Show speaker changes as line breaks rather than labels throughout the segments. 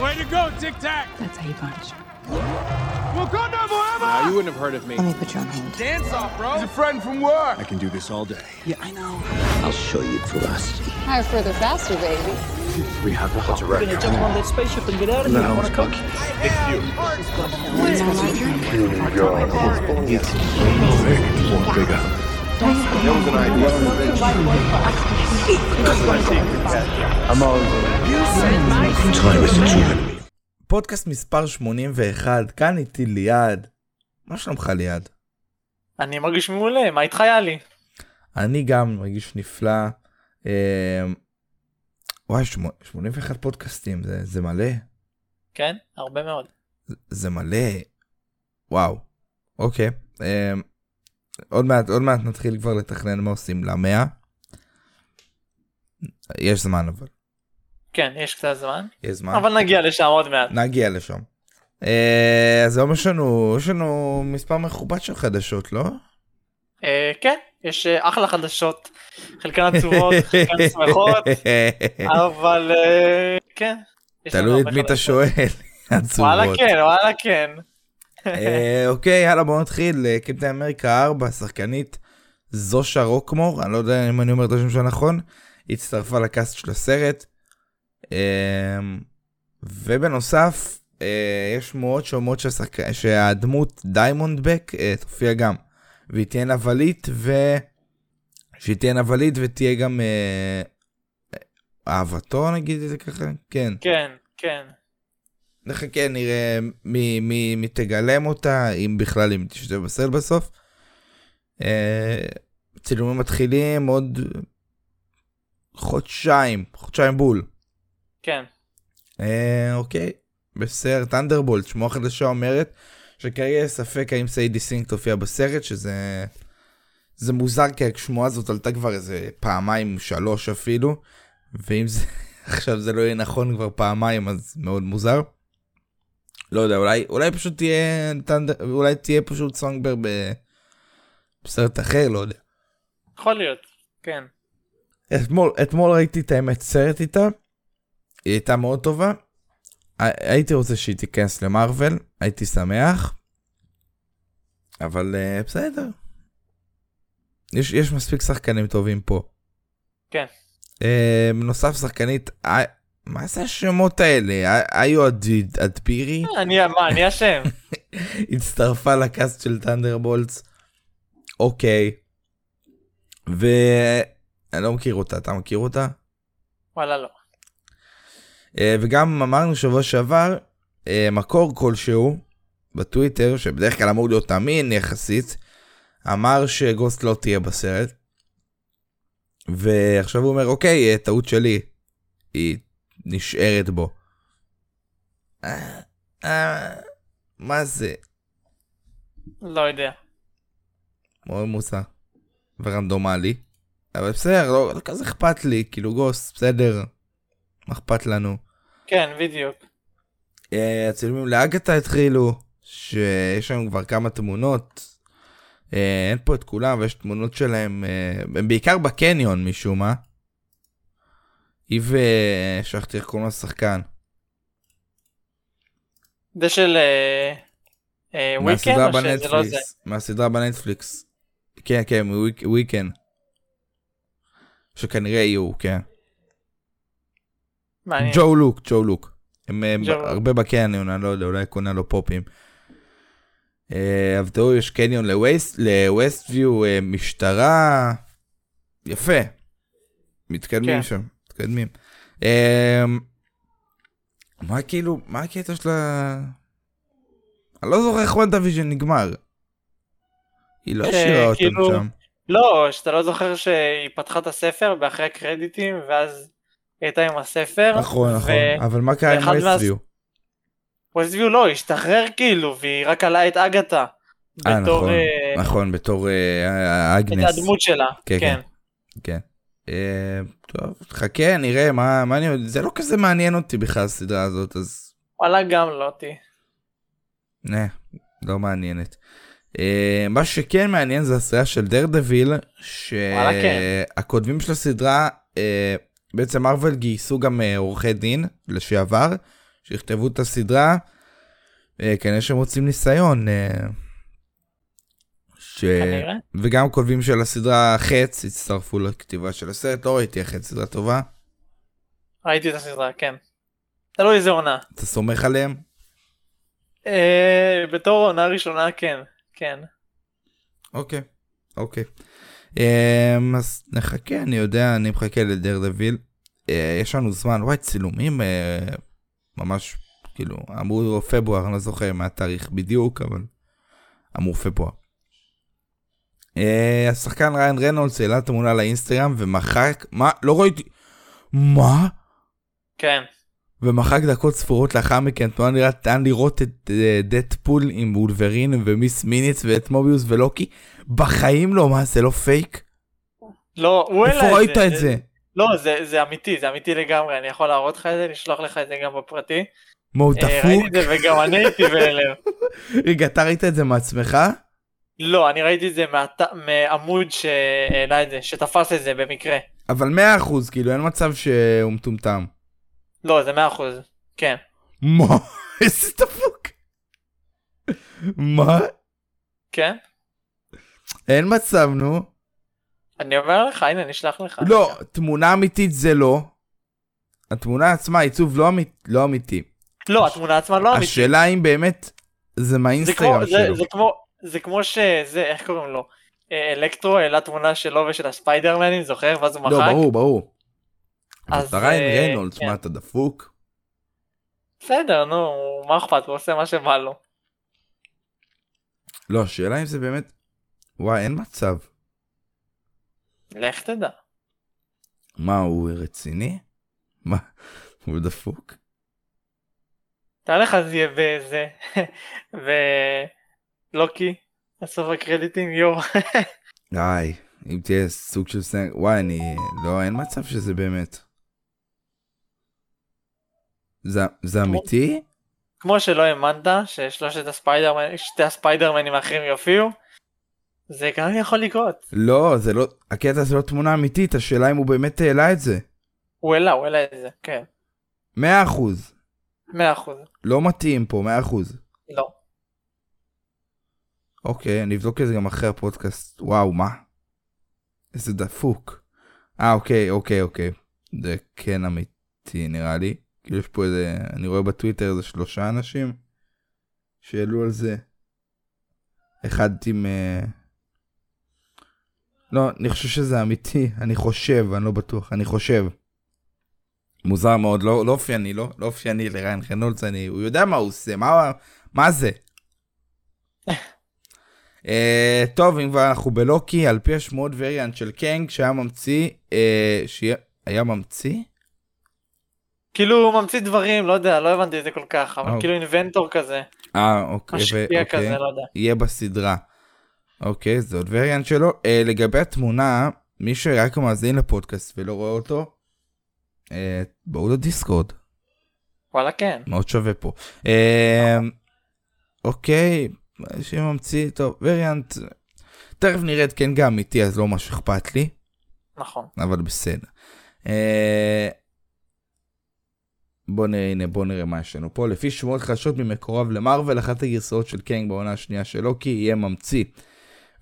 Way to go, Tic Tac.
That's how you punch.
Wakanda forever.
Now, you wouldn't have heard of me.
Let me put you on hold.
Dance off, bro. He's a friend from work.
I can do this all day.
Yeah, I know.
I'll show you ferocity.
Higher, further, faster, baby.
We have a hot record.
We're gonna jump on that spaceship and get out of here.
Now
Wanna
it's
come?
cocky. More bigger.
That was an idea. I'm all
Time is achievement.
פודקאסט מספר 81, כאן איתי ליעד. מה שלומך ליעד?
אני מרגיש מעולה, מה איתך יאלי?
אני גם מרגיש נפלא. אה, וואי, שמ- 81 פודקאסטים, זה, זה מלא?
כן, הרבה מאוד.
זה מלא. וואו. אוקיי. אה, עוד מעט, עוד מעט נתחיל כבר לתכנן מה עושים למאה. יש זמן אבל.
כן, יש קצת זמן,
יש זמן.
אבל נגיע לשם עוד מעט.
נגיע לשם. אה, אז היום יש לנו, יש לנו מספר מכובד של חדשות, לא?
אה, כן, יש אה, אחלה חדשות, חלקן עצובות, חלקן שמחות, אבל אה, כן. יש לנו
תלוי את
הרבה
מי אתה
חדשות.
שואל.
וואלה
עצובות.
כן, וואלה כן.
אה, אוקיי, יאללה בוא נתחיל. אה, קפטן אמריקה 4, שחקנית זושה רוקמור, אני לא יודע אם אני אומר את השם שלה נכון, הצטרפה לקאסט של הסרט. אה, ובנוסף, אה, יש שמועות שאומרות שהשחק- שהדמות דיימונד בק אה, תופיע גם. והיא תהיה נבלית ו... שהיא תהיה נבלית ותהיה גם אה, אהבתו נגיד את זה ככה? כן.
כן, כן.
נחכה נראה מי, מי, מי תגלם אותה אם בכלל אם תשתה בסל בסוף. אה, צילומים מתחילים עוד חודשיים חודשיים בול.
כן,
אה, אוקיי בסרט טנדרבולט שמו החדשה אומרת שכרגע יש ספק האם סיידי סינק תופיע בסרט שזה זה מוזר כי השמועה הזאת עלתה כבר איזה פעמיים שלוש אפילו ואם זה עכשיו זה לא יהיה נכון כבר פעמיים אז מאוד מוזר. לא יודע אולי אולי פשוט תהיה טנדר אולי תהיה פשוט סונגבר ב- בסרט אחר לא יודע.
יכול להיות, כן.
אתמול אתמול ראיתי את האמת סרט איתה. היא הייתה מאוד טובה. הי- הייתי רוצה שהיא תיכנס למרוויל הייתי שמח. אבל אה, בסדר. יש, יש מספיק שחקנים טובים פה.
כן.
אה, בנוסף שחקנית אה, מה זה השמות האלה אה, איו אד- אדפירי
אני, מה, אני אשם?
הצטרפה לקאסט של טנדרבולטס. אוקיי. ואני לא מכיר אותה אתה מכיר אותה?
וואלה לא.
אה, וגם אמרנו שבוע שעבר אה, מקור כלשהו בטוויטר שבדרך כלל אמור להיות אמין יחסית אמר שגוסט לא תהיה בסרט. ועכשיו הוא אומר אוקיי אה, טעות שלי היא נשארת בו. אה, אה, מה זה
לא יודע.
מאוד מוזר ורנדומלי. אבל בסדר לא, לא כזה אכפת לי כאילו גוסט בסדר מה אכפת לנו.
כן, בדיוק.
אה, הצילומים לאגתה התחילו, שיש שם כבר כמה תמונות. אה, אין פה את כולם, ויש תמונות שלהם, אה, הם בעיקר בקניון משום מה. היא ו... שכחתי איך קוראים לשחקן.
זה של אה, אה, וויקנד
מהסדרה
או שזה לא זה?
בנטפליקס. מהסדרה בנטפליקס. כן, כן, מוויק- וויקן. שכנראה יהיו, כן.
מעניין.
ג'ו לוק, ג'ו לוק. הם אה, ב-
ג'ו לוק.
הרבה בקניון, אני לא יודע, אולי קונה לו פופים. אה, אבל תראו, יש קניון לווסט- לווסט ויו, אה, משטרה. יפה. מתקדמים
כן.
שם, מתקדמים. אה, מה כאילו, מה הקטע של ה... אני לא זוכר איך וונדוויז'ן נגמר. היא לא
אה,
השאירה אותם
כאילו-
שם.
לא, שאתה לא זוכר שהיא פתחה את הספר באחרי הקרדיטים ואז היא הייתה עם הספר.
נכון, נכון.
ו-
אבל מה קרה עם
ואחד
ווסט
מה-
ויו?
ווסטביו לא, השתחרר כאילו, והיא רק עלה את אגתה.
אה,
בתור
נכון,
אה,
נכון, בתור אה,
את
אגנס.
הדמות שלה.
כן,
כן.
כן. אה, טוב, חכה, נראה מה, מה אני יודע, זה לא כזה מעניין אותי בכלל הסדרה הזאת, אז
וואלה גם לא
אה.
אותי.
נה, לא מעניינת. אה, מה שכן מעניין זה הסדרה של דר דביל,
וואלה, כן.
שהכותבים של הסדרה, אה, בעצם מרוויל גייסו גם אה, עורכי דין לשעבר, שיכתבו את הסדרה, אה, כנראה שהם רוצים ניסיון. אה, ש...
כנראה.
וגם כותבים של הסדרה חץ הצטרפו לכתיבה של הסרט, לא ראיתי החץ סדרה טובה,
ראיתי את הסדרה, כן. תלוי איזה עונה.
אתה סומך עליהם?
אה, בתור עונה ראשונה, כן. כן.
אוקיי, אוקיי. אמ, אז נחכה, אני יודע, אני מחכה לדר דביל. אה, יש לנו זמן, וואי, צילומים אה, ממש, כאילו, אמרו פברואר, אני לא זוכר מה התאריך בדיוק, אבל אמרו פברואר. אה, השחקן ריין רנולדס העלה תמונה לאינסטגרם ומחק, מה? לא ראיתי, מה?
כן.
ומחק דקות ספורות לאחר מכן תנועה נראית טען לראות את אה, דדפול עם וולברין ומיס מיניץ ואת מוביוס ולוקי בחיים לא מה זה לא פייק
לא, הוא העלה את
איפה
זה.
ראית את זה
לא, זה- זה אמיתי, זה אמיתי לגמרי. אני יכול להראות לך את זה, לשלוח לך את זה גם בפרטי.
מה הוא
אה, ראיתי את
דפוק
זה וגם אני הייתי בהלם.
רגע אתה ראית את זה מעצמך
לא, אני ראיתי את זה מהת- מעמוד שהעלה את זה, אה, שתפס את זה במקרה.
אבל 100% כאילו אין מצב שהוא מטומטם
לא, זה 100%. כן.
מה איזה דפוק מה
כן?
אין מצב נו
אני אומר לך, הנה, אני אשלח לך.
לא תמונה אמיתית זה לא התמונה עצמה עיצוב לא אמית- לא אמיתי
לא, התמונה עצמה לא אמיתית.
השאלה אם באמת זה
זה כמו,
מהאינסטגרם
זה,
שלו.
זה כמו, זה כמו שזה, איך קוראים לו? אה, אלקטרו העלה תמונה שלו ושל הספיידרמנים, זוכר? ואז הוא מחק.
לא, ברור, ברור.
אז,
אתה ריין
אה,
ריינולדס,
כן.
מה אתה דפוק?
בסדר, נו, מה אכפת? הוא עושה מה שבא לו.
לא, השאלה אם זה באמת... וואי, אין מצב.
לך תדע.
מה, הוא רציני? מה, הוא דפוק?
תאר לך זה יהיה באיזה... ולוקי, בסוף הקרדיטים, יואו.
די, אם תהיה סוג של סנק... וואי, אני... לא, אין מצב שזה באמת. זה- זה אמיתי?
כמו שלא האמנת ששלושת הספיידרמנים, שתי הספיידרמנים האחרים יופיעו, זה גם יכול לקרות.
לא, זה לא... הקטע זה לא תמונה אמיתית, השאלה אם הוא באמת העלה את זה.
הוא העלה, הוא העלה את זה, כן.
100%.
מאה אחוז.
לא מתאים פה, 100%.
לא.
אוקיי, אני אבדוק את זה גם אחרי הפודקאסט. וואו, מה? איזה דפוק. אה, אוקיי, אוקיי, אוקיי. זה כן אמיתי, נראה לי. כאילו יש פה איזה... אני רואה בטוויטר איזה שלושה אנשים שהעלו על זה. אחד עם... אה, לא, אני חושב שזה אמיתי. אני חושב, אני לא בטוח. אני חושב. מוזר מאוד, לא לא אופייני, לא לא אופייני לריין חנולץ, אני... הוא יודע מה הוא עושה, מה- מה זה? אה, טוב, אם כבר אנחנו בלוקי, על פי השמועות וריאנט של קנג, שהיה ממציא, אה, שהיה ממציא?
כאילו הוא ממציא דברים, לא יודע, לא הבנתי את זה כל כך, אבל
אוקיי.
כאילו אינבנטור כזה,
אה, אוקיי, ו-
משפיע
אוקיי.
כזה, לא יודע.
יהיה בסדרה. אוקיי, זה עוד וריאנט שלו. אה, לגבי התמונה, מי שרק מאזין לפודקאסט ולא רואה אותו, אה, בואו לדיסקורד,
וואלה כן.
מאוד שווה פה. אה, אוקיי, שממציא, טוב, וריאנט, תכף נראה את קנג האמיתי, אז לא ממש אכפת לי.
נכון.
אבל בסדר. אה, בוא נראה, הנה, בוא נראה מה יש לנו פה. לפי שמועות חדשות ממקורב למרוויל, אחת הגרסאות של קנג בעונה השנייה של לוקי יהיה ממציא.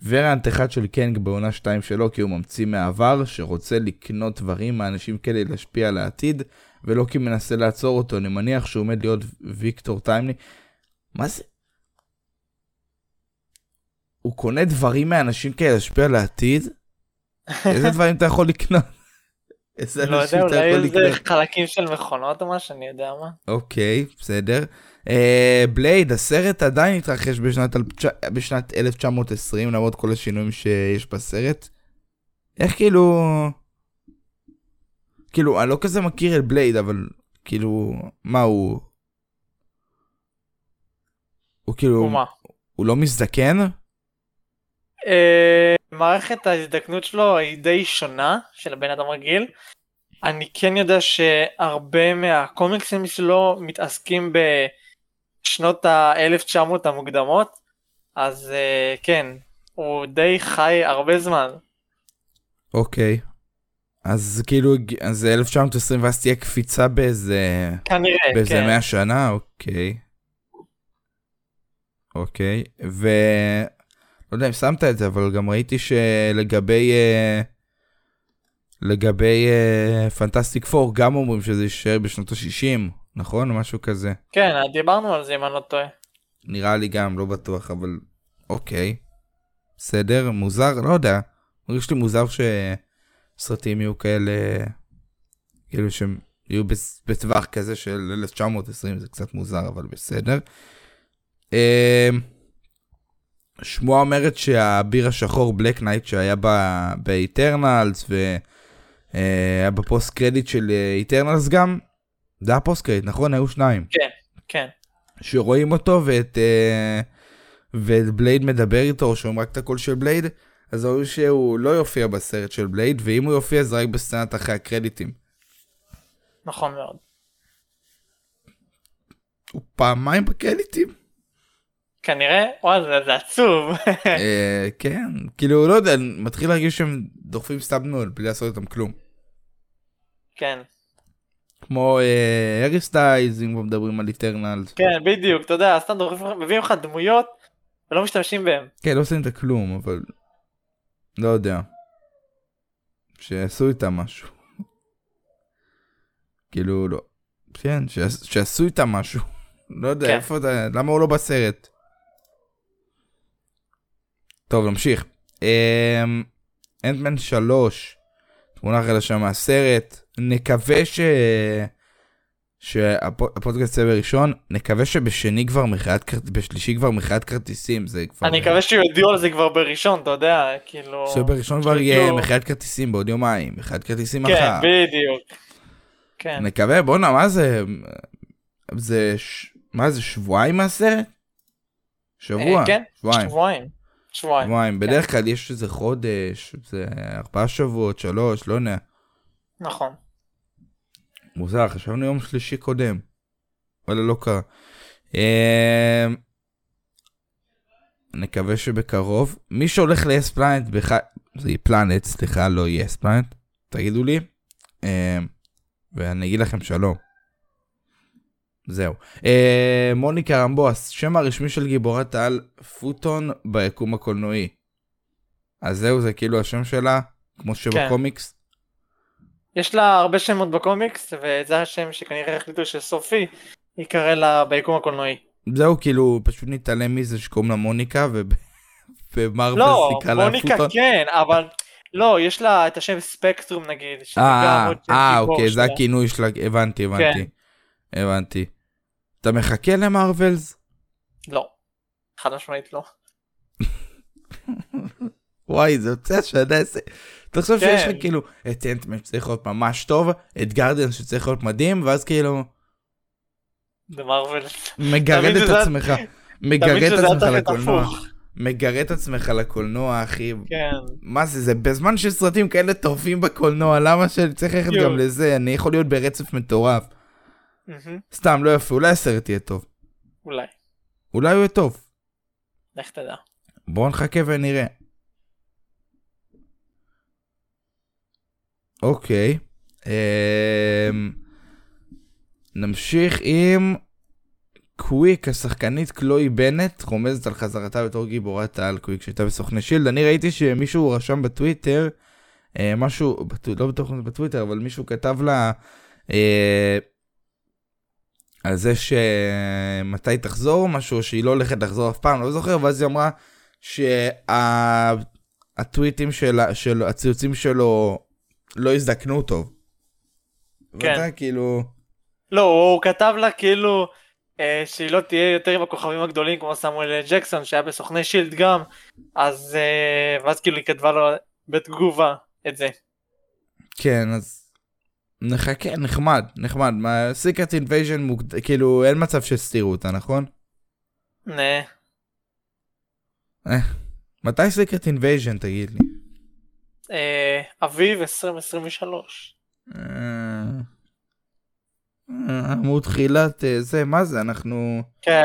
וריאנט אחד של קנג בעונה 2 של לוקי הוא ממציא מהעבר, שרוצה לקנות דברים מאנשים כדי להשפיע על העתיד, ולוקי מנסה לעצור אותו, אני מניח שהוא עומד להיות ויקטור טיימלי. מה זה? הוא קונה דברים מאנשים כדי להשפיע על העתיד? איזה דברים אתה יכול לקנות? איזה
לא יודע,
אנשים אתה יכול
אולי
לקנות?
זה חלקים של מכונות או משהו, אני יודע מה.
אוקיי, בסדר. אה, בלייד, הסרט עדיין התרחש בשנת, אל- תש- בשנת 1920, למרות כל השינויים שיש בסרט. איך כאילו... כאילו, אני לא כזה מכיר את בלייד, אבל כאילו, מה הוא... הוא כאילו,
ומה.
הוא לא מזדקן?
אה, מערכת ההזדקנות שלו היא די שונה של הבן אדם רגיל. אני כן יודע שהרבה מהקומיקסים שלו מתעסקים בשנות ה-1900 המוקדמות, אז אה, כן, הוא די חי הרבה זמן.
אוקיי. אז כאילו, אז 1920 ואז תהיה קפיצה באיזה...
כנראה,
באיזה
כן.
100 שנה, אוקיי. אוקיי, ו... לא יודע אם שמת את זה, אבל גם ראיתי שלגבי... אה, לגבי פנטסטיק פור, גם אומרים שזה יישאר בשנות ה-60, נכון? משהו כזה.
כן, דיברנו על זה אם אני לא טועה.
נראה לי גם, לא בטוח, אבל אוקיי. בסדר, מוזר, לא יודע. מרגיש לי מוזר שסרטים יהיו כאלה, כאילו שהם יהיו בס- בטווח כזה של 1920, זה קצת מוזר, אבל בסדר. אמ, שמועה אומרת שהביר השחור בלק נייט שהיה ב- באיטרנלס והיה בפוסט קרדיט אה, של איטרנלס גם, זה היה פוסט קרדיט, נכון? היו שניים.
כן.
שרואים אותו ואת אה, ואת בלייד מדבר איתו, שומעים רק את הקול של בלייד, אז אמרו שהוא לא יופיע בסרט של בלייד, ואם הוא יופיע זה רק בסצנת אחרי הקרדיטים.
נכון מאוד.
הוא פעמיים בקרדיטים.
כנראה, וואי, זה, זה עצוב.
אה, כן, כאילו, לא יודע, אני מתחיל להרגיש שהם דוחפים סתם נול בלי לעשות איתם כלום.
כן,
כמו אה, הארי סטיילס, אם כבר מדברים על איטרנלס.
כן, בדיוק, אתה יודע, סתם דוחפים- מביאים לך דמויות ולא משתמשים בהם.
כן, לא עושים את הכלום, אבל... לא יודע. שיעשו איתם משהו. כאילו, לא. כן, שיעש- שיעשו איתם משהו. לא יודע,
כן.
איפה אתה... למה הוא לא בסרט? טוב, נמשיך. אמ... אנטמן 3, תמונה חדשה מהסרט. נקווה ש... שהפודקאסט יהיה בראשון, נקווה שבשני כבר מכירת כרטיסים, בשלישי כבר מכירת כרטיסים, זה כבר...
אני מקווה שיודיעו על זה כבר בראשון, אתה יודע, כאילו...
אוקיי. שבראשון כבר יהיה
כאילו-
מכירת כרטיסים בעוד יומיים, מכירת כרטיסים
כן,
מחר.
בדיוק. כן,
נקווה, בואנה, מה זה? זה... ש- מה זה, שבועיים מהסרט? שבוע,
אה, כן,
שבועיים.
שבועיים. שבועיים. כן.
שבועיים, בדרך כלל יש איזה חודש, זה ארבעה שבועות, שלוש, לא יודע.
נכון.
מוזר, חשבנו יום שלישי קודם. וואלה, לא קרה. אמ, נקווה שבקרוב. מי שהולך ל-yes planet, בח... זה פלנט, סליחה, לא yes planet, תגידו לי, אמ, ואני אגיד לכם שלום. זהו. אה, מוניקה רמבו, השם הרשמי של גיבורת העל, פוטון ביקום הקולנועי. אז זהו, זה כאילו השם שלה, כמו שבקומיקס.
יש לה הרבה שמות בקומיקס, וזה השם שכנראה החליטו שסופי ייקרא לה ביקום הקולנועי.
זהו, כאילו, פשוט נתעלם מזה שקוראים לה מוניקה, ובמרוויל
לא, מוניקה כן, אבל... לא, יש לה את השם ספקטרום נגיד. שזה גם
אה,
עוד שם
אה,
גיבור
אוקיי, זה
שלה. כן.
הכינוי שלה, הבנתי, הבנתי. הבנתי. אתה מחכה למרווילס?
לא. חד משמעית לא.
וואי, זה יוצא השנה איזה... תחשוב
כן.
שיש לך כאילו את אנטמן שצריך להיות ממש טוב, את גרדיאנס שצריך להיות מדהים, ואז כאילו
זה מרוויל.
מגרד
תמיד
את
זה-
עצמך,
תמיד
מגרד את
שזה היה
עצמך
צריך להיות
לקולנוע,
הפוך.
מגרד את עצמך לקולנוע, אחי,
כן.
מה זה זה בזמן שסרטים כאלה טורפים בקולנוע למה שאני צריך ללכת
בדיוק.
גם לזה אני יכול להיות ברצף מטורף
מהמם.
סתם לא יפה אולי הסרט יהיה טוב
אולי.
אולי הוא יהיה טוב
לך תדע.
בואו נחכה ונראה. אוקיי אמ, נמשיך עם קוויק השחקנית קלוי בנט רומזת על חזרתה בתור גיבורת העל קוויק שהייתה בסוכני שילד אני ראיתי שמישהו רשם בטוויטר אה, משהו בטו, לא בטוח אם זה בטוויטר אבל מישהו כתב לה אה, על זה שמתי תחזור משהו שהיא לא הולכת לחזור אף פעם לא זוכר ואז היא אמרה שהטוויטים שלה של הציוצים שלו לא הזדקנו טוב.
כן.
ואתה כאילו
לא, הוא כתב לה כאילו אה, שהיא לא תהיה יותר עם הכוכבים הגדולים כמו סמואל אה, ג'קסון שהיה בסוכני שילד גם, אז אה, ואז כאילו היא כתבה לו בתגובה את זה.
כן אז נחכה נחמד נחמד מה סיקרט אינבייז'ן מוגד... כאילו אין מצב שהסתירו אותה נכון?
נה,
אה, מתי סיקרט אינבייז'ן תגיד לי?
אה, אביב 2023.
אה, אה, עמוד תחילת אה, זה מה זה אנחנו
כן,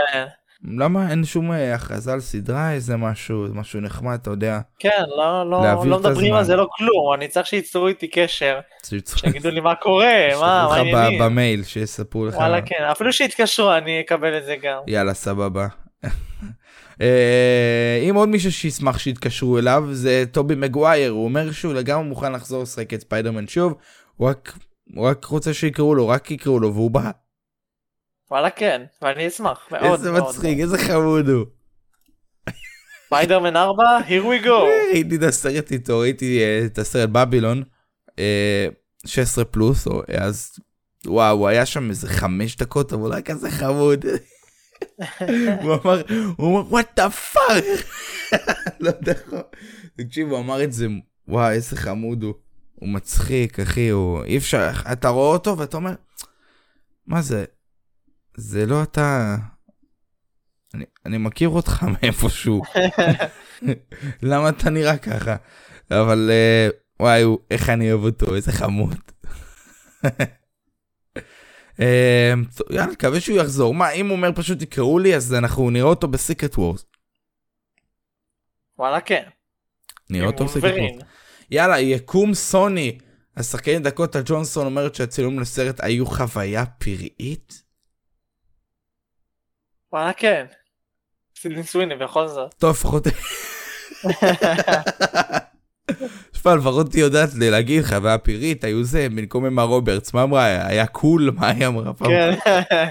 למה אין שום אה, הכרזה על סדרה, איזה משהו, משהו נחמד, אתה יודע.
כן, לא, לא,
להעביר
לא
את
מדברים על
הזמן.
זה לא כלום, אני צריך שייצרו איתי קשר,
שיצ-
שיגידו לי מה קורה, מה,
ישלחו
אה, מה
לך ב-
העניינים.
במייל, שיספרו לך.
וואלה כן, אפילו שיתקשרו אני אקבל את זה גם.
יאללה, סבבה. אה, אם עוד מישהו שישמח שיתקשרו אליו זה טובי מגווייר הוא אומר שהוא לגמרי מוכן לחזור לשחק את ספיידרמן שוב הוא רק, הוא רק רוצה שיקראו לו רק יקראו לו והוא בא
וואלה כן, ואני אשמח מאוד.
איזה
מאוד.
מצחיק איזה חמוד הוא.
ספיידרמן 4, here we go.
ראיתי את הסרט איתו ראיתי אה, את הסרט בבילון אה, 16 פלוס או- אז וואו הוא היה שם איזה חמש דקות אבל הוא היה כזה חמוד. הוא אמר הוא אמר what the fuck. לא יודע איך הוא- תקשיב הוא אמר את זה וואי איזה חמוד הוא. הוא מצחיק אחי הוא אי אפשר אתה רואה אותו ואתה אומר מה זה זה לא אתה. אני, אני מכיר אותך מאיפשהו. למה אתה נראה ככה? אבל אה, וואי, הוא- איך אני אוהב אותו, איזה חמוד. אה, טוב, יאללה, מקווה שהוא יחזור. מה, אם הוא אומר פשוט תקראו לי, אז אנחנו נראה אותו בסיקרט וורס.
וואלה כן.
נראה אותו
עם
בסיקרט
וולברין.
וורס. יאללה, יקום סוני. השחקנית דקוטה ג'ונסון אומרת שהצילום לסרט היו חוויה פראית.
וואלה כן. סילין סוויני בכל זאת.
טוב, לפחות... תשמע, לפחות היא יודעת להגיד חוויה פראית, היו זה, במקום אמה רוברטס, מה אמרה? היה קול? מה היא אמרה? פעם?
כן.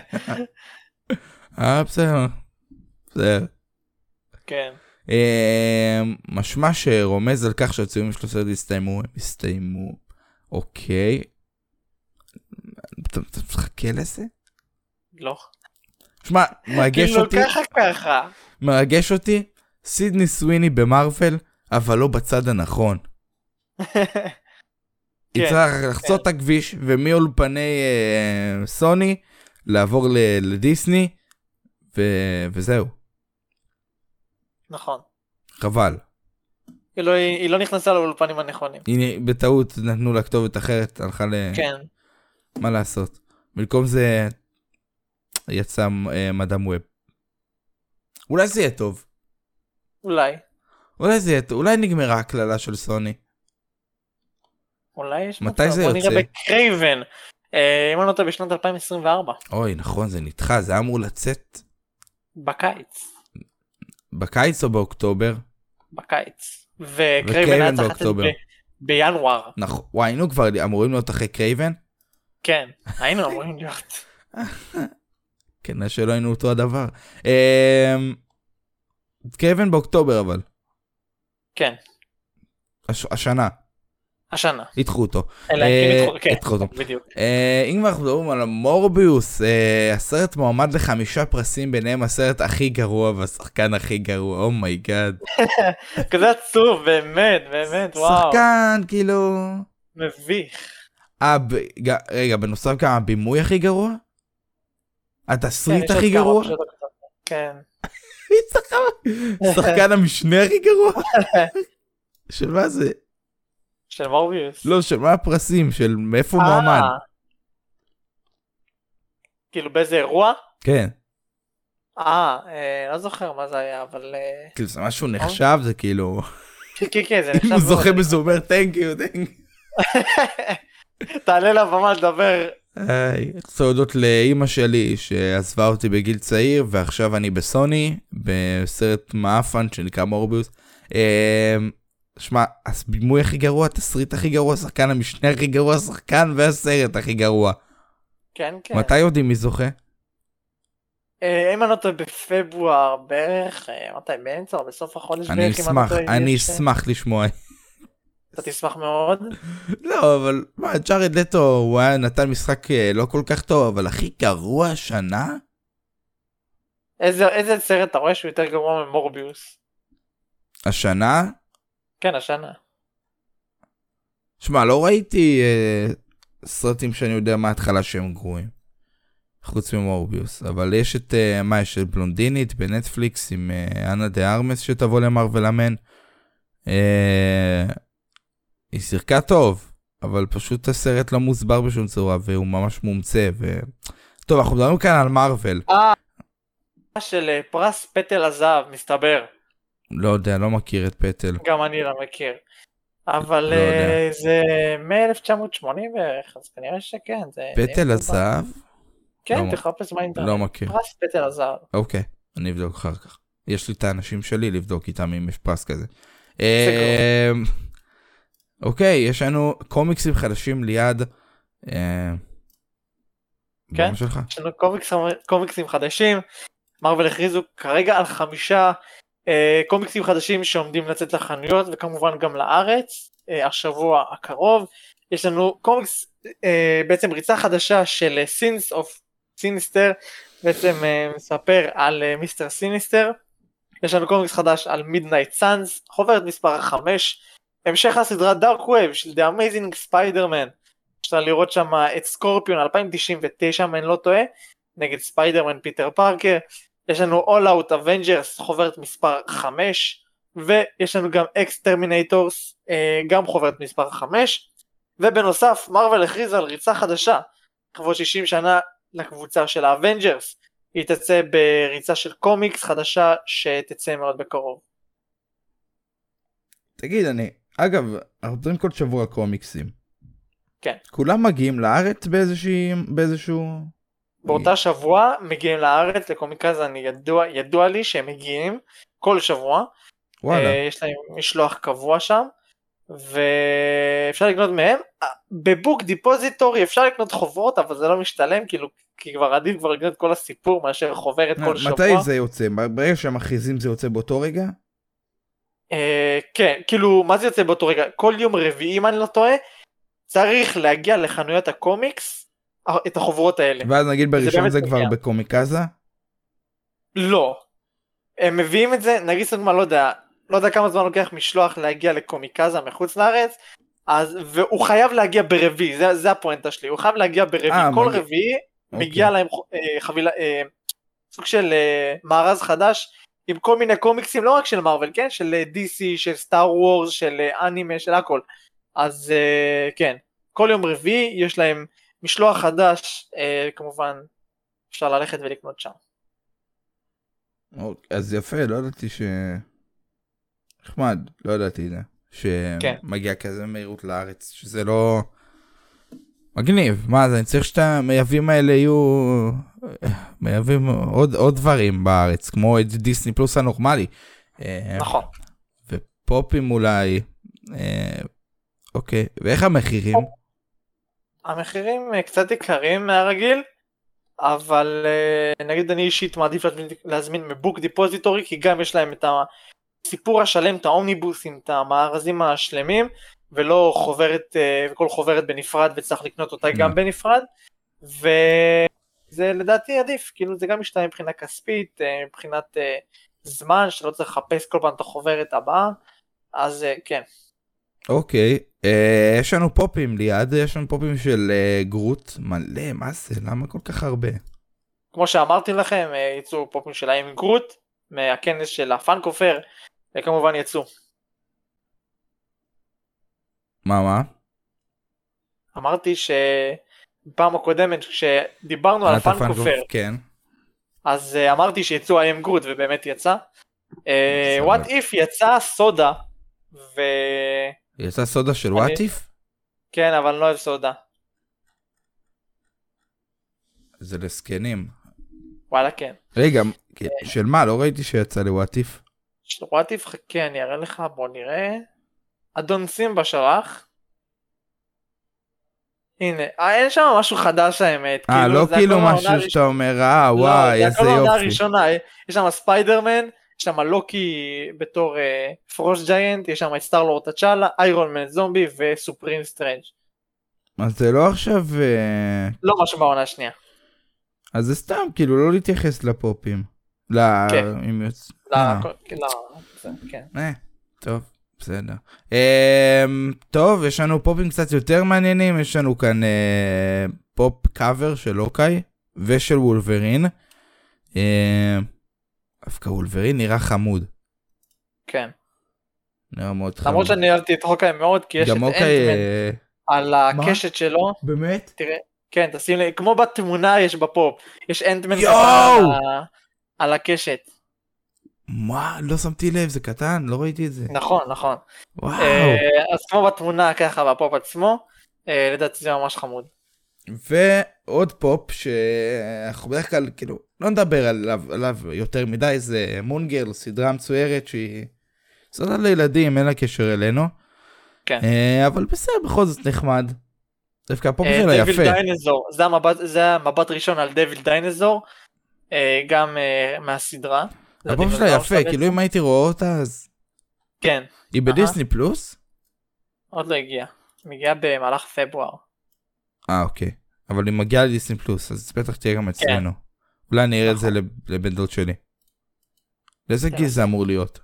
אוקיי. אה, בסדר. בסדר.
כן.
אה, משמע שרומז על כך שהציונים של הסרט הסתיימו, הם הסתיימו. אוקיי. אתה אתה מחכה לזה?
לא.
שמע, מרגש
כאילו
אותי,
ככה ככה.
מרגש אותי, סידני סוויני במרוויל, אבל לא בצד הנכון. היא
כן,
צריכה לחצות את הכביש ומאולפני אה, סוני לעבור ל- לדיסני ו- וזהו
נכון.
חבל
כאילו היא היא לא נכנסה לאולפנים הנכונים.
הנה בטעות נתנו לה כתובת אחרת הלכה ל...
כן.
מה לעשות במקום זה יצא אה, מדאם ווב. אולי זה יהיה טוב
אולי.
אולי זה יהיה טוב אולי נגמרה הקללה של סוני
אולי יש
מתי זה
בוא
יוצא?
נראה בקרייבן. אה, אם אני לא טועה בשנת 2024.
אוי נכון זה נדחה זה היה אמור לצאת
בקיץ.
בקיץ או באוקטובר
בקיץ. וקרייבן היה צריך לצאת
באוקטובר.
ב- בינואר.
נכון וואי היינו כבר אמורים להיות אחרי קרייבן
כן. היינו אמורים להיות.
כנראה כן, שלא היינו אותו הדבר. קרבן באוקטובר אבל,
כן.
הש- השנה,
השנה.
ידחו אותו.
אלא אם
אה,
כן ידחו- כן,
ידחו אותו.
בדיוק.
אה, אם אנחנו מדברים על מורביוס, אה, הסרט מועמד לחמישה פרסים ביניהם הסרט הכי גרוע והשחקן הכי גרוע, Oh אומייגאד.
כזה עצוב, באמת, באמת, וואו.
שחקן כאילו...
מביך.
אה, ב- ג- רגע, בנוסף גם הבימוי הכי גרוע?
כן,
התסריט
יש עוד
הכי
כמה
גרוע?
פשוט הקטנות. כן.
מי שחקן- שחקן המשנה הכי גרוע? של מה זה?
של מורביוס.
לא, של מה הפרסים? של מאיפה
אה.
מועמד?
כאילו באיזה אירוע?
כן.
אה, אה, לא זוכר מה זה היה, אבל... אה,
כאילו זה משהו נחשב זה כאילו
כן, כן, כן, זה
אם
נחשב...
הוא
מאוד.
זוכה בזה הוא אומר תנק יו תנק.
תעלה לבמה לדבר.
צריך להודות לאימא שלי שעזבה אותי בגיל צעיר ועכשיו אני בסוני בסרט מאפן שנקרא מורביוס. אה, שמע הבימוי הכי גרוע התסריט הכי גרוע שחקן המשנה הכי גרוע שחקן והסרט הכי גרוע.
כן, כן.
מתי יודעים מי זוכה?
אה, אם אני לא טועה בפברואר בערך, אה, מתי? באמצע או בסוף החודש
אני
בערך, אם לא
אשמח
טועה,
אני
יש, אה,
אשמח לשמוע.
אתה תשמח מאוד.
לא אבל מה ג'ארד לטו הוא היה נתן משחק אה, לא כל כך טוב אבל הכי גרוע השנה?
איזה איזה סרט אתה רואה שהוא יותר גרוע ממורביוס?
השנה?
כן, השנה.
שמע, לא ראיתי אה, סרטים שאני יודע מההתחלה שהם גרועים. חוץ ממורביוס. אבל יש את, אה, מה יש? את בלונדינית בנטפליקס עם אה, אנה דה ארמס שתבוא למרוויל אמן. אה, היא שיחקה טוב, אבל פשוט הסרט לא מוסבר בשום צורה והוא ממש מומצא. ו... טוב, אנחנו מדברים כאן על מארוול.
אה, של אה, פרס פטל הזהב, מסתבר.
לא יודע, לא מכיר את פטל.
גם אני לא מכיר. אבל
לא יודע.
אה, זה מ-1980 בערך, אז כנראה שכן. זה די
פטל
מקובל.
הזהב?
כן,
לא-
תחפש באינטרנט.
לא מכיר.
פרס פטל הזהב.
אוקיי, אני אבדוק אחר כך. יש לי את האנשים שלי לבדוק איתם אם יש פרס כזה.
בסדר.
אמ, אוקיי, יש לנו קומיקסים חדשים ליד... אה,
כן?
במה שלך.
יש לנו קומיקס, קומיקסים חדשים. מרוויל הכריזו כרגע על חמישה אה, קומיקסים חדשים שעומדים לצאת לחנויות וכמובן גם לארץ אה, השבוע הקרוב. יש לנו קומיקס, אה, בעצם ריצה חדשה של אה, סינס אוף סיניסטר, בעצם אה, מספר על אה, מיסטר סיניסטר. יש לנו קומיקס חדש על מידנייט סאנס, חוברת מספר 5, המשך הסדרה דארק ווב של The Amazing Spider-Man. אפשר לראות שם את סקורפיון 2099 אם אני לא טועה נגד ספיידרמן פיטר פארקר יש לנו All Out Avengers חוברת מספר 5 ויש לנו גם אקסטרמינטורס גם חוברת מספר 5 ובנוסף מרוויל הכריז על ריצה חדשה לכבוד 60 שנה לקבוצה של האבנג'רס היא תצא בריצה של קומיקס חדשה שתצא מאוד בקרוב
תגיד, אני... אגב, אנחנו מדברים כל שבוע על קומיקסים.
כן.
כולם מגיעים לארץ באיזושהי... באיזשהו...
באותה שבוע מגיעים לארץ לקומיקז אני ידוע, ידוע לי שהם מגיעים כל שבוע
וואלה.
אה, יש להם משלוח קבוע שם, ואפשר לקנות מהם. אה, בבוק דיפוזיטורי אפשר לקנות חוברות, אבל זה לא משתלם, כאילו, כי כבר עדיף כבר לקנות כל הסיפור מאשר חוברת כל שבוע.
מתי זה יוצא? ברגע שהם מכריזים זה יוצא באותו רגע?
אה, כן, כאילו, מה זה יוצא באותו רגע? כל יום רביעי, אם אני לא טועה, צריך להגיע לחנויות הקומיקס, אה, את החוברות האלה.
ואז נגיד בראשון
באמת
זה כבר
מגיע.
בקומיקזה?
לא. הם מביאים את זה, נגיד סתם מה, לא יודע, לא יודע כמה זמן לוקח משלוח להגיע לקומיקזה מחוץ לארץ, אז, והוא חייב להגיע ברביעי, זה, זה הפואנטה שלי, הוא חייב להגיע
אה,
ברביעי, כל
מגיע-
רביעי
אוקיי.
מגיע להם אה, חבילה, אה, סוג של אה, מארז חדש, עם כל מיני קומיקסים, לא רק של מארוול, כן? של אה, DC, של סטאר וורס, של אה, אנימה, של הכל. אז אה, כן, כל יום רביעי יש להם משלוח חדש, אה, כמובן אפשר ללכת ולקנות שם.
אוקיי, אז יפה, לא ידעתי ש... נחמד, לא ידעתי את זה.
כן.
שמגיע כזה מהירות לארץ, שזה לא... מגניב, מה זה, אני צריך שהמייבאים האלה יהיו... מייבאים עוד, עוד דברים בארץ, כמו את דיסני פלוס הנורמלי. אה,
נכון.
ופופים אולי. אה, אוקיי, ואיך המחירים?
המחירים אה, קצת יקרים מהרגיל, אבל אה, נגיד אני אישית מעדיף להזמין, להזמין מבוק דיפוזיטורי, כי גם יש להם את הסיפור השלם, את האומניבוסים, את המארזים השלמים, ולא חוברת, אה, וכל חוברת בנפרד, וצריך לקנות אותה גם בנפרד, וזה לדעתי עדיף, כאילו זה גם משתנה מבחינה כספית, אה, מבחינת אה, זמן, שלא צריך לחפש כל פעם את החוברת הבאה, אז אה, כן.
אוקיי, אה, יש לנו פופים ליד, יש לנו פופים של אה, גרוט מלא, מה זה, למה כל כך הרבה?
כמו שאמרתי לכם, אה, יצאו פופים של האם גרוט, מהכנס של הפאנקופר, וכמובן יצאו.
מה, מה?
אמרתי שבפעם הקודמת כשדיברנו על
אה, אתה
הפאנקופר,
כן.
אז אה, אמרתי שיצאו האם גרוט ובאמת יצא.
בסדר.
וואט איף יצא סודה, וכן
יצא סודה של
אני-
וואטיף?
אבל אני לא אוהב סודה.
זה לזקנים.
וואלה כן.
רגע, כן, של מה? לא ראיתי שיצא לוואטיף.
וואט איף חכה כן, אני אראה לך בוא נראה. אדון סימבה שלח. הנה, אה, אין שם משהו חדש האמת.
אה, לא
זה
כאילו
הכל מהעונה
משהו שאתה אומר, אה, וואי,
לא,
איזה
זה הכל העונה
יופי.
הראשונה, יש שם ספיידרמן, יש שם לוקי בתור אה, פרוש ג'יינט, יש שם את סטארלורד תצ'אלה, איירון מן זומבי וסופרים סטרנג'.
אז זה לא עכשיו... אה,
לא משהו בעונה השנייה.
אז זה סתם, כאילו, לא להתייחס לפופים. ל...
כן.
אם יוצ-
לא,
אה,
הכל- לא, זה- כן.
אה, טוב, בסדר. אמ, טוב, יש לנו פופים קצת יותר מעניינים, יש לנו כאן אה, פופ קאבר של לוקאי ושל וולברין. אה, דווקא וולברין נראה חמוד.
כן.
נראה מאוד חמוד.
למרות שאני אהבתי את הוקאי מאוד, כי יש את
גם אוקיי,
אנטמן
אה,
על הקשת שלו.
באמת?
כן, תשים לב, כמו בתמונה יש בפופ. יש אנטמן
יואו!
קטן על ה- על הקשת.
מה? לא שמתי לב, זה קטן, לא ראיתי את זה.
נכון, נכון.
וואו.
אה, אז כמו בתמונה ככה בפופ עצמו, אה, לדעתי זה ממש חמוד.
ועוד פופ שאנחנו בדרך כלל כאילו לא נדבר עליו, עליו יותר מדי זה מונגרל סדרה מצוירת שהיא סדרה לילדים אין לה קשר אלינו
כן.
אה, אבל בסדר בכל זאת נחמד. דווקא הפופ
אה,
שלה
דביל
יפה
דיינזור, זה המבט, זה המבט ראשון על דביל דיינזור, אה, גם אה, מהסדרה.
הפופ שלה
הדינוזאור
יפה
בעצם.
כאילו אם הייתי רואה אותה אז
כן,
היא
אהה.
בדיסני פלוס
עוד לא הגיעה. מגיעה במהלך פברואר.
אה אוקיי אבל היא מגיעה לדיסני פלוס אז בטח תהיה
כן.
גם אצלנו. אולי אני אראה את זה לב- לבן דוד שלי. לאיזה
נכון. כן.
גיל זה אמור להיות?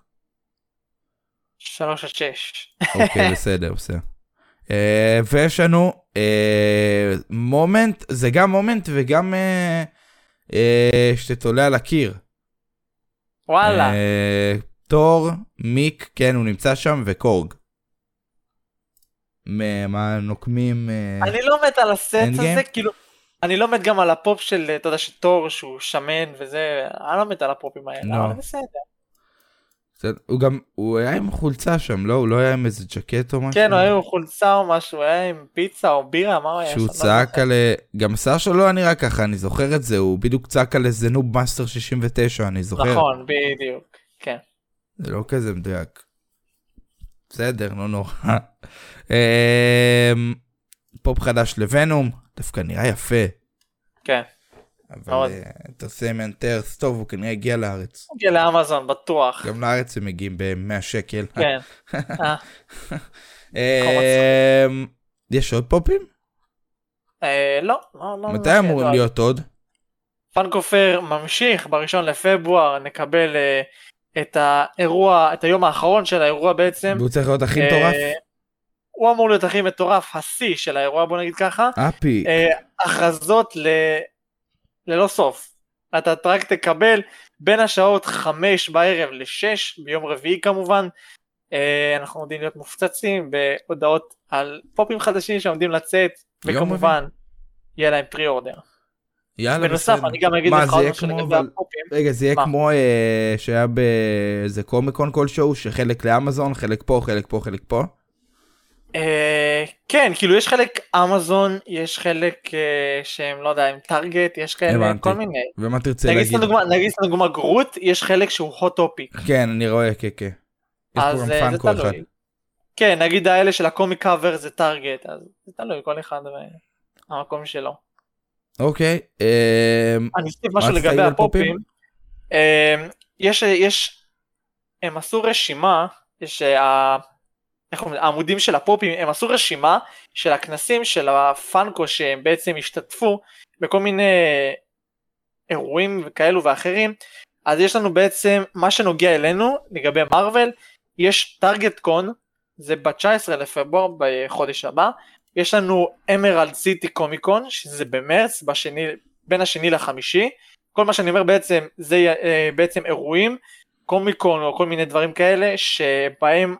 שלוש עד שש.
אוקיי, בסדר, בסדר. אה, ויש לנו אה, מומנט, זה גם מומנט וגם אה, אה, שתתולה על הקיר.
וואלה,
אה, תור, מיק, כן, הוא נמצא שם, וקורג. מה- מהנוקמים... אה,
אני לא מת על הסט הזה,
Endgame?
כאילו, אני לא מת גם על הפופ של, אתה יודע, שתור שהוא שמן וזה, אני לא מת על הפופים
לא.
האלה, אבל בסדר.
זה- הוא גם, הוא היה עם חולצה שם, לא? הוא לא היה עם איזה ג'קט או משהו?
כן, הוא היה עם חולצה או משהו, הוא היה עם פיצה או בירה, מה הוא היה?
שהוא
שם? לא
צעק על... אה, גם השיער שלו לא נראה ככה, אני זוכר את זה, הוא בדיוק צעק על איזה נוב מאסטר 69, אני זוכר.
נכון, בדיוק, כן.
זה לא כזה מדויק. בסדר, לא נורא. אמ, פופ חדש לוונום, דווקא נראה יפה.
כן. מאוד.
אבל אה, תעשה מנטרס, טוב, הוא כנראה הגיע לארץ.
הוא הגיע לאמזון, בטוח.
גם לארץ הם מגיעים ב-100 שקל.
כן. אה,
אמ, יש עוד פופים?
אה, לא, לא, לא.
מתי אמורים להיות עוד?
פאנקופר ממשיך בראשון לפברואר, נקבל אה, את האירוע, את היום האחרון של האירוע בעצם.
והוא צריך להיות הכי
אה,
מטורף?
הוא אמור להיות הכי מטורף, השיא של האירוע, בוא נגיד ככה.
אפי,
אה, הכרזות ל... ללא סוף. אתה רק תקבל בין השעות חמש בערב לשש ביום רביעי כמובן. אה, אנחנו עומדים להיות מופצצים בהודעות על פופים חדשים שעומדים לצאת,
יום
וכמובן יהיה להם פרי אורדר.
יאללה
בנוסף
בסדר.
אני גם אגיד
מה,
לך
זה
עוד
יהיה
משהו
כמו,
לגבי
אבל-
הפופים.
רגע, זה יהיה
מה?
כמו אה, שהיה באיזה קומיקון כלשהו, שחלק לאמזון, חלק פה, חלק פה, חלק פה.
אה, כן, כאילו יש חלק אמזון, יש חלק אה, שהם לא יודע, עם טארגט, יש כאלה,
הבנתי.
כל מיני.
ומה תרצה
נגיד
להגיד?
סתם דוגמה- נגיד סתם דוגמה גרוט, יש חלק שהוא hot topic.
כן, אני רואה, כן, כן. יש פה גם
אה,
פאן
זה
כל
תלוי.
אחד.
כן, נגיד האלה של הקומיק קאבר זה טארגט, אז זה תלוי, כל אחד והמקום שלו.
אוקיי, אמ,
אני אוסיף אוקיי, משהו
רצית להגיד
לגבי
על פופים?
הפופים. אה, יש, יש, הם עשו רשימה, יש, אה, איך אומרים, העמודים של הפופים, הם עשו רשימה של הכנסים של הפאנקו שהם בעצם השתתפו בכל מיני אירועים וכאלו ואחרים. אז יש לנו בעצם מה שנוגע אלינו לגבי מארוול, יש טארגט קון, זה ב-19 לפברואר בחודש הבא, יש לנו אמרלד סיטי קומיקון, שזה במרץ, בשני, בין השני לחמישי, כל מה שאני אומר בעצם זה אה, בעצם אירועים, קומיקון או כל מיני דברים כאלה שבהם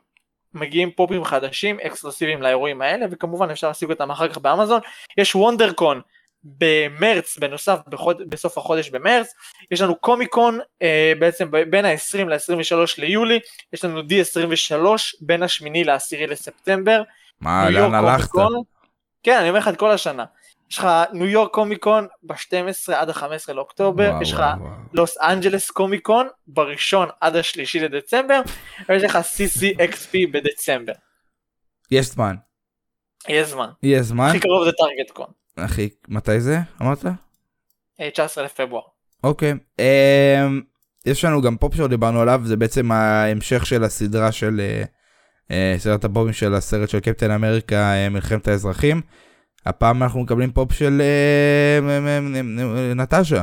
מגיעים פופים חדשים אקסקלוסיביים לאירועים האלה וכמובן אפשר להשיג אותם אחר כך באמזון, יש וונדרקון במרץ בנוסף בחוד, בסוף החודש במרץ, יש לנו קומיקון אה, בעצם ב- בין ה-20 ל-23 ליולי, יש לנו D23 בין השמיני לעשירי לספטמבר,
מה,
ניו
אה, לאן
יורק
הלכת?
קומיקון. כן, אני אומר לך את כל השנה. יש לך ניו יורק קומיקון ב-12 עד ה-15 לאוקטובר,
וואו,
יש לך
וואו, וואו.
לוס אנג'לס קומיקון בראשון עד השלישי לדצמבר, ויש לך CCXP בדצמבר.
יש זמן.
יהיה זמן.
יש זמן?
הכי קרוב זה טארגט קון,
אחי, מתי זה? אמרת?
אה, 19 לפברואר.
אוקיי. אמ, יש לנו גם פופ שעוד דיברנו עליו, זה בעצם ההמשך של הסדרה של... אה, אה, סדרת הפופים של הסרט של קפטן אמריקה, אה, מלחמת האזרחים. הפעם אנחנו מקבלים פופ של אה, מ- מ- מ- מ- נטשה.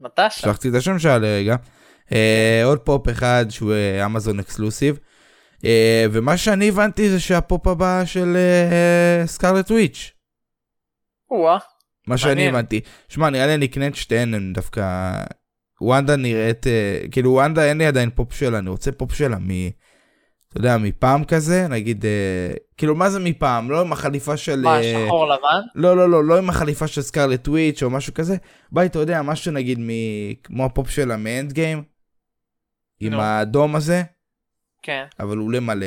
נטשה,
שלחתי את השם שלה לרגע. אה, עוד פופ אחד שהוא אה, אמזון אקסקלוסיב. אה, ומה שאני הבנתי זה שהפופ הבא של אה, סקארלט וויץ'.
או-אה,
מה שאני
מעניין.
הבנתי. שמע, נראה לי אני אקנה את שתיהן, הן דווקא... וונדה נראית... אה, כאילו וונדה אין לי עדיין פופ שלה, אני רוצה פופ שלה מ... אתה יודע, מפעם כזה, נגיד, אה, כאילו, מה זה מפעם? לא עם החליפה של...
מה,
אה,
שחור לבן?
לא, לא, לא, לא עם החליפה של סקארלט וויץ' או משהו כזה. ביי, אתה יודע, משהו נגיד מ... כמו הפופ שלה מאנד גיים, עם
נו.
האדום הזה,
כן.
אבל הוא עולה מלא.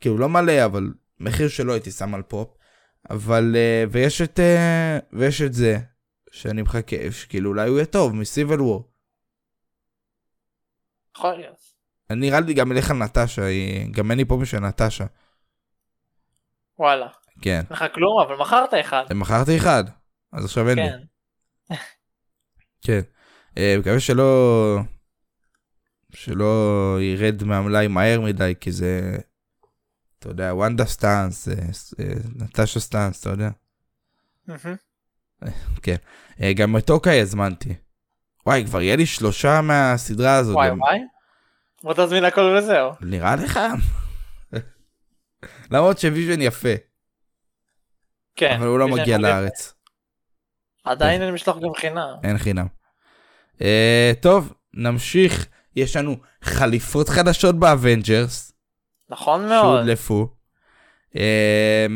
כאילו, לא מלא, אבל מחיר שלא הייתי שם על פופ. אבל, אה, ויש את, אה, ויש את זה, שאני מחכה, כאילו, אולי הוא יהיה טוב, מסיבל וור.
יכול להיות.
אני נראה לי גם אלך על נטשה, היא- גם אין לי פה בשביל נטשה.
וואלה.
כן.
אין לך כלום, אבל מכרת אחד.
מכרתי אחד, אז עכשיו אין לי.
כן.
כן. אה, מקווה שלא... שלא ירד מהמלאי מהר מדי, כי זה... אתה יודע, וונדה סטאנס, אה, אה, נטשה סטאנס, אתה יודע.
מהמם.
אה, גם את אוקיי הזמנתי. וואי, כבר יהיה לי שלושה מהסדרה הזאת.
וואי
גם-
וואי. בוא תזמין הכל וזהו.
נראה לך? למרות שוויז'ן יפה,
כן.
אבל הוא לא
יש להם
מגיע
הרבה-
לארץ.
עדיין אין משלוח גם חינם.
אין חינם. אה, טוב, נמשיך. יש לנו חליפות חדשות באבנג'רס,
נכון מאוד.
שהודלפו. אה,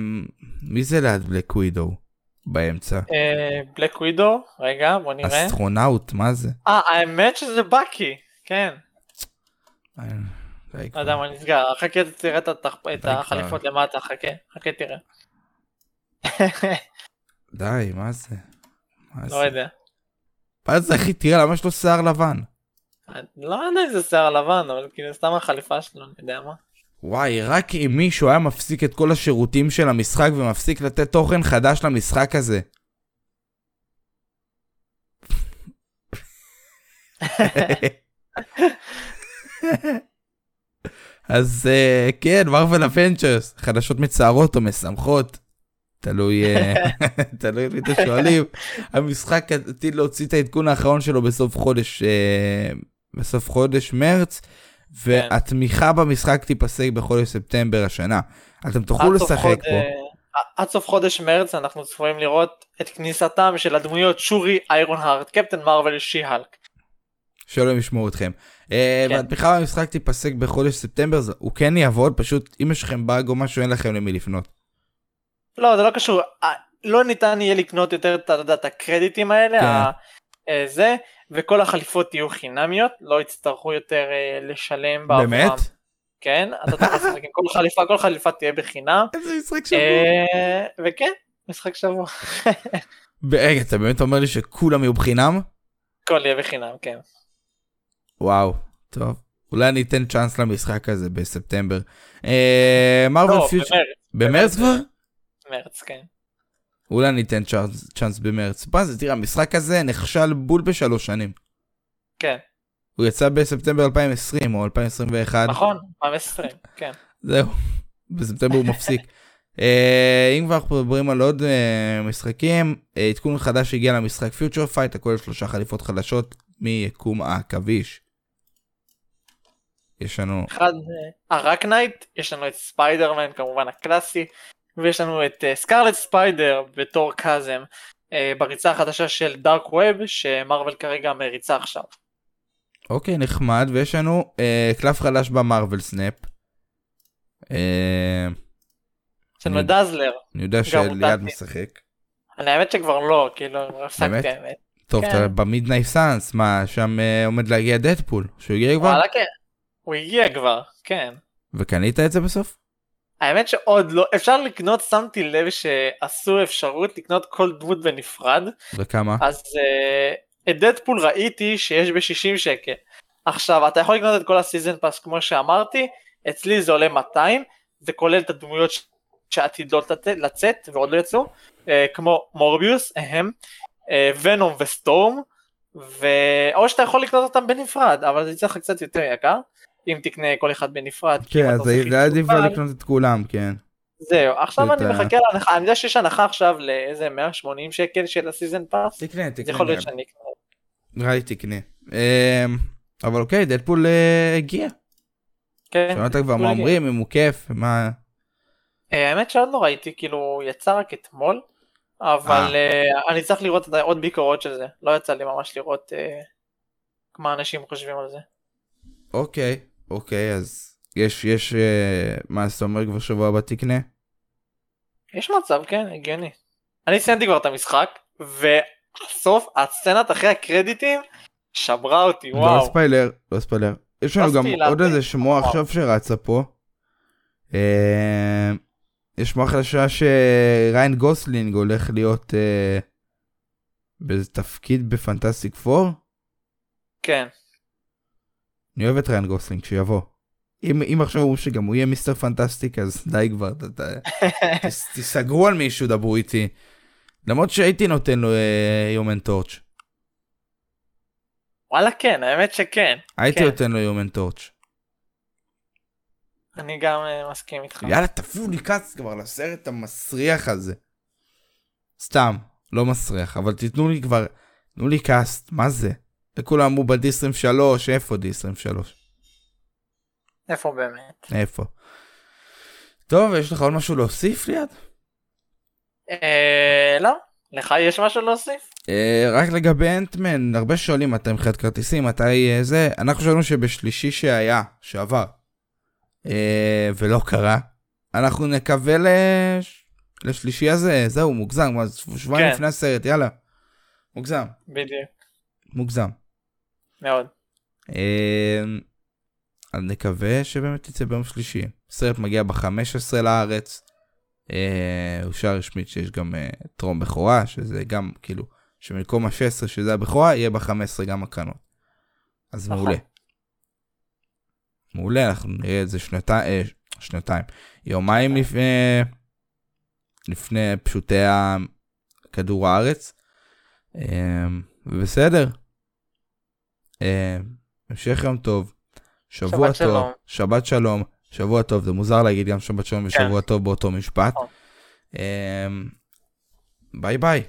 מי זה ליד בלק ווידו באמצע?
אה, בלק ווידו, רגע בוא נראה.
אסטרונאוט, מה זה?
אה האמת שזה באקי, כן.
אה, די
לא
כבר.
יודע מה נסגר, חכה תראה את התח- את
די כבר.
החליפות למטה, חכה, חכה תראה.
די, מה זה? מה
לא
זה?
יודע.
מה זה אחי, תראה, למה יש לו שיער לבן?
אני לא יודע אם זה שיער לבן, אבל כאילו סתם החליפה שלו, אני יודע מה.
וואי, רק אם מישהו היה מפסיק את כל השירותים של המשחק ומפסיק לתת תוכן חדש למשחק הזה. אז אה, כן, מרוויל אבנצ'רס, חדשות מצערות או משמחות, תלוי, אה, תלוי מי אתם שואלים. המשחק עתיד להוציא את העדכון האחרון שלו בסוף חודש, אה, בסוף חודש מרץ,
כן.
והתמיכה במשחק תיפסק בחודש ספטמבר השנה. אתם תוכלו
עד סוף
לשחק
חוד-
פה.
אה, עד סוף חודש מרץ אנחנו צפויים לראות את כניסתם של הדמויות שורי, איירון הארט, קפטן מרוויל, שי-הלק.
שאלוהים ישמעו אתכם. אה,
כן.
והתמיכה במשחק תיפסק בחודש ספטמבר, זה- הוא כן יעבוד, פשוט אם יש לכם באג או משהו אין לכם למי לפנות.
לא זה לא קשור, אה, לא ניתן יהיה לקנות יותר את, אתה יודע, את הקרדיטים האלה,
כן.
ה- אה, זה, וכל החליפות יהיו חינמיות, לא יצטרכו יותר אה, לשלם בעבורם.
באמת?
כן, אתה תוכל לשחק עם כל חליפה, כל חליפה תהיה בחינם,
איזה משחק שבוע.
אה, וכן, משחק שבוע,
רגע, אתה באמת אומר לי שכולם יהיו בחינם?
הכל יהיה בחינם, כן.
וואו, טוב. אולי אני אתן צ'אנס למשחק הזה בספטמבר. אה, מרוויל
לא,
פיוטר...
במרץ,
במרץ כבר?
מרץ, כן.
אולי אני אתן צ'אנס- צ'אנס במרץ. מה זה, תראה, המשחק הזה נכשל בול בשלוש שנים.
כן,
הוא יצא בספטמבר 2020 או 2021.
נכון, 2020, כן.
זהו, בספטמבר הוא מפסיק. אה, אם כבר אנחנו מדברים על עוד אה, משחקים, אה, עדכון חדש הגיע למשחק פיוטר פייט, הכולל שלושה חליפות חדשות מיקום העכביש. יש לנו,
אחד, אה, הרק נייט, יש לנו את ספיידרמן כמובן הקלאסי, ויש לנו את אה, סקארלט ספיידר בתור קאזם, אה, בריצה החדשה של דארק ווב, שמרוויל כרגע מריצה עכשיו.
אוקיי, נחמד, ויש לנו אה, קלף חדש במרוויל סנאפ. אה,
יש לנו את דאזלר,
אני יודע שליד
הודעתי.
משחק.
אני האמת שכבר לא, כאילו,
באמת?
הפסקתי האמת.
טוב,
כן.
אתה במידנייט סאנס, מה, שם אה, עומד להגיע דדפול, שהוא הגיע כבר?
וואלה כן, הוא הגיע כבר, כן.
וקנית את זה בסוף?
האמת שעוד לא, אפשר לקנות, שמתי לב שעשו אפשרות לקנות כל דמות בנפרד,
וכמה?
אז אה, את דדפול ראיתי שיש ב-60 שקל. עכשיו, אתה יכול לקנות את כל הסיזן פאס כמו שאמרתי, אצלי זה עולה 200, זה כולל את הדמויות ש- שעתידות לת- לצאת ועוד לא יצאו, אה, כמו מורביוס, אהם, אה, ונום וסטורם, ו... או שאתה יכול לקנות אותם בנפרד, אבל זה יצא לך קצת יותר יקר, אם תקנה כל אחד בנפרד. כי אם
כן,
אתה
אז
עושה
זה היה עדיף
חישוב קל,
לקנות את כולם, כן.
זהו, עכשיו אני
את ה-
מחכה להנחה, אני יודע שיש הנחה עכשיו לאיזה 180 שקל של הסיזן פאס,
תקנה, תקנה.
אז יכול להיות שאני אקנה.
נראה לי תקנה. אמ, אבל אוקיי, דדפול אה, הגיע.
כן.
שמעת כבר
דדפול
מה
הגיע.
אומרים, אם הוא כיף, מה...
אה, האמת שעוד לא ראיתי, כאילו הוא יצא רק אתמול, אבל אה, אני צריך לראות את ה- עוד ביקורות של זה, לא יצא לי ממש לראות אה, מה אנשים חושבים על זה.
אוקיי, אוקיי, אז יש, יש, אה, מה זאת אומרת כבר שבוע הבא תקנה?
יש מצב, כן, הגיוני. אני סיימתי כבר את המשחק, והסוף, הסצנת אחרי הקרדיטים, שברה אותי,
לא
וואו.
ספיילר, לא ספיילר. יש לנו
לא
גם
ספיילרתי.
עוד איזה שמועה
וואו.
עכשיו שרצה פה. אה, יש שמועה חדשה שריין גוסלינג הולך להיות אה, באיזה תפקיד בפנטסטיק פור.
כן.
אני אוהב את ריין גוסלינג, שיבוא. אם, אם עכשיו אומרים שגם הוא יהיה מיסטר פנטסטיק, אז די כבר, ת, ת, תס- תסגרו על מישהו, דברו איתי. למרות שהייתי נותן לו אה, יומן טורץ'.
וואלה כן, האמת שכן.
הייתי
כן.
נותן לו יומן טורץ'.
אני גם אה, מסכים איתך.
יאללה, תפו לי כץ כבר לסרט המסריח הזה. סתם, לא מסריח, אבל תיתנו לי כבר, תנו לי קאסט, מה זה? וכולם אמרו בדי 23, איפה די 23?
איפה באמת?
איפה? טוב, יש לך עוד משהו להוסיף ליד?
אה, לא. לך יש משהו להוסיף?
אה, רק לגבי אנטמן, הרבה שואלים מתי מכירת כרטיסים, מתי אה, זה, אנחנו שאלנו שבשלישי שהיה, שעבר, אה, ולא קרה, אנחנו נקווה לש... לשלישי הזה, זהו, מוגזם, מה, זה, שבועיים
כן.
לפני הסרט, יאללה, מוגזם,
בדיוק.
מוגזם.
מאוד.
אה, אז נקווה שבאמת יצא ביום שלישי. הסרט מגיע ב-15 לארץ. אה, אושר רשמית שיש גם אה, טרום בכורה, שזה גם כאילו, שבמקום ה-16 שזה הבכורה, יהיה ב-15 גם הקרנות. אז
נכון.
מעולה. מעולה, אנחנו נראה את זה שנתיים, אה, שנתיים, יומיים לפני, לפני פשוטי ה- כדור הארץ. אה, בסדר. אה, המשך יום טוב, שבוע
שבת
טוב,
שלום.
שבת שלום, שבוע טוב, זה מוזר להגיד גם שבת שלום ושבוע
כן.
טוב באותו משפט.
נכון.
אמ, ביי ביי.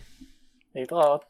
להתראות.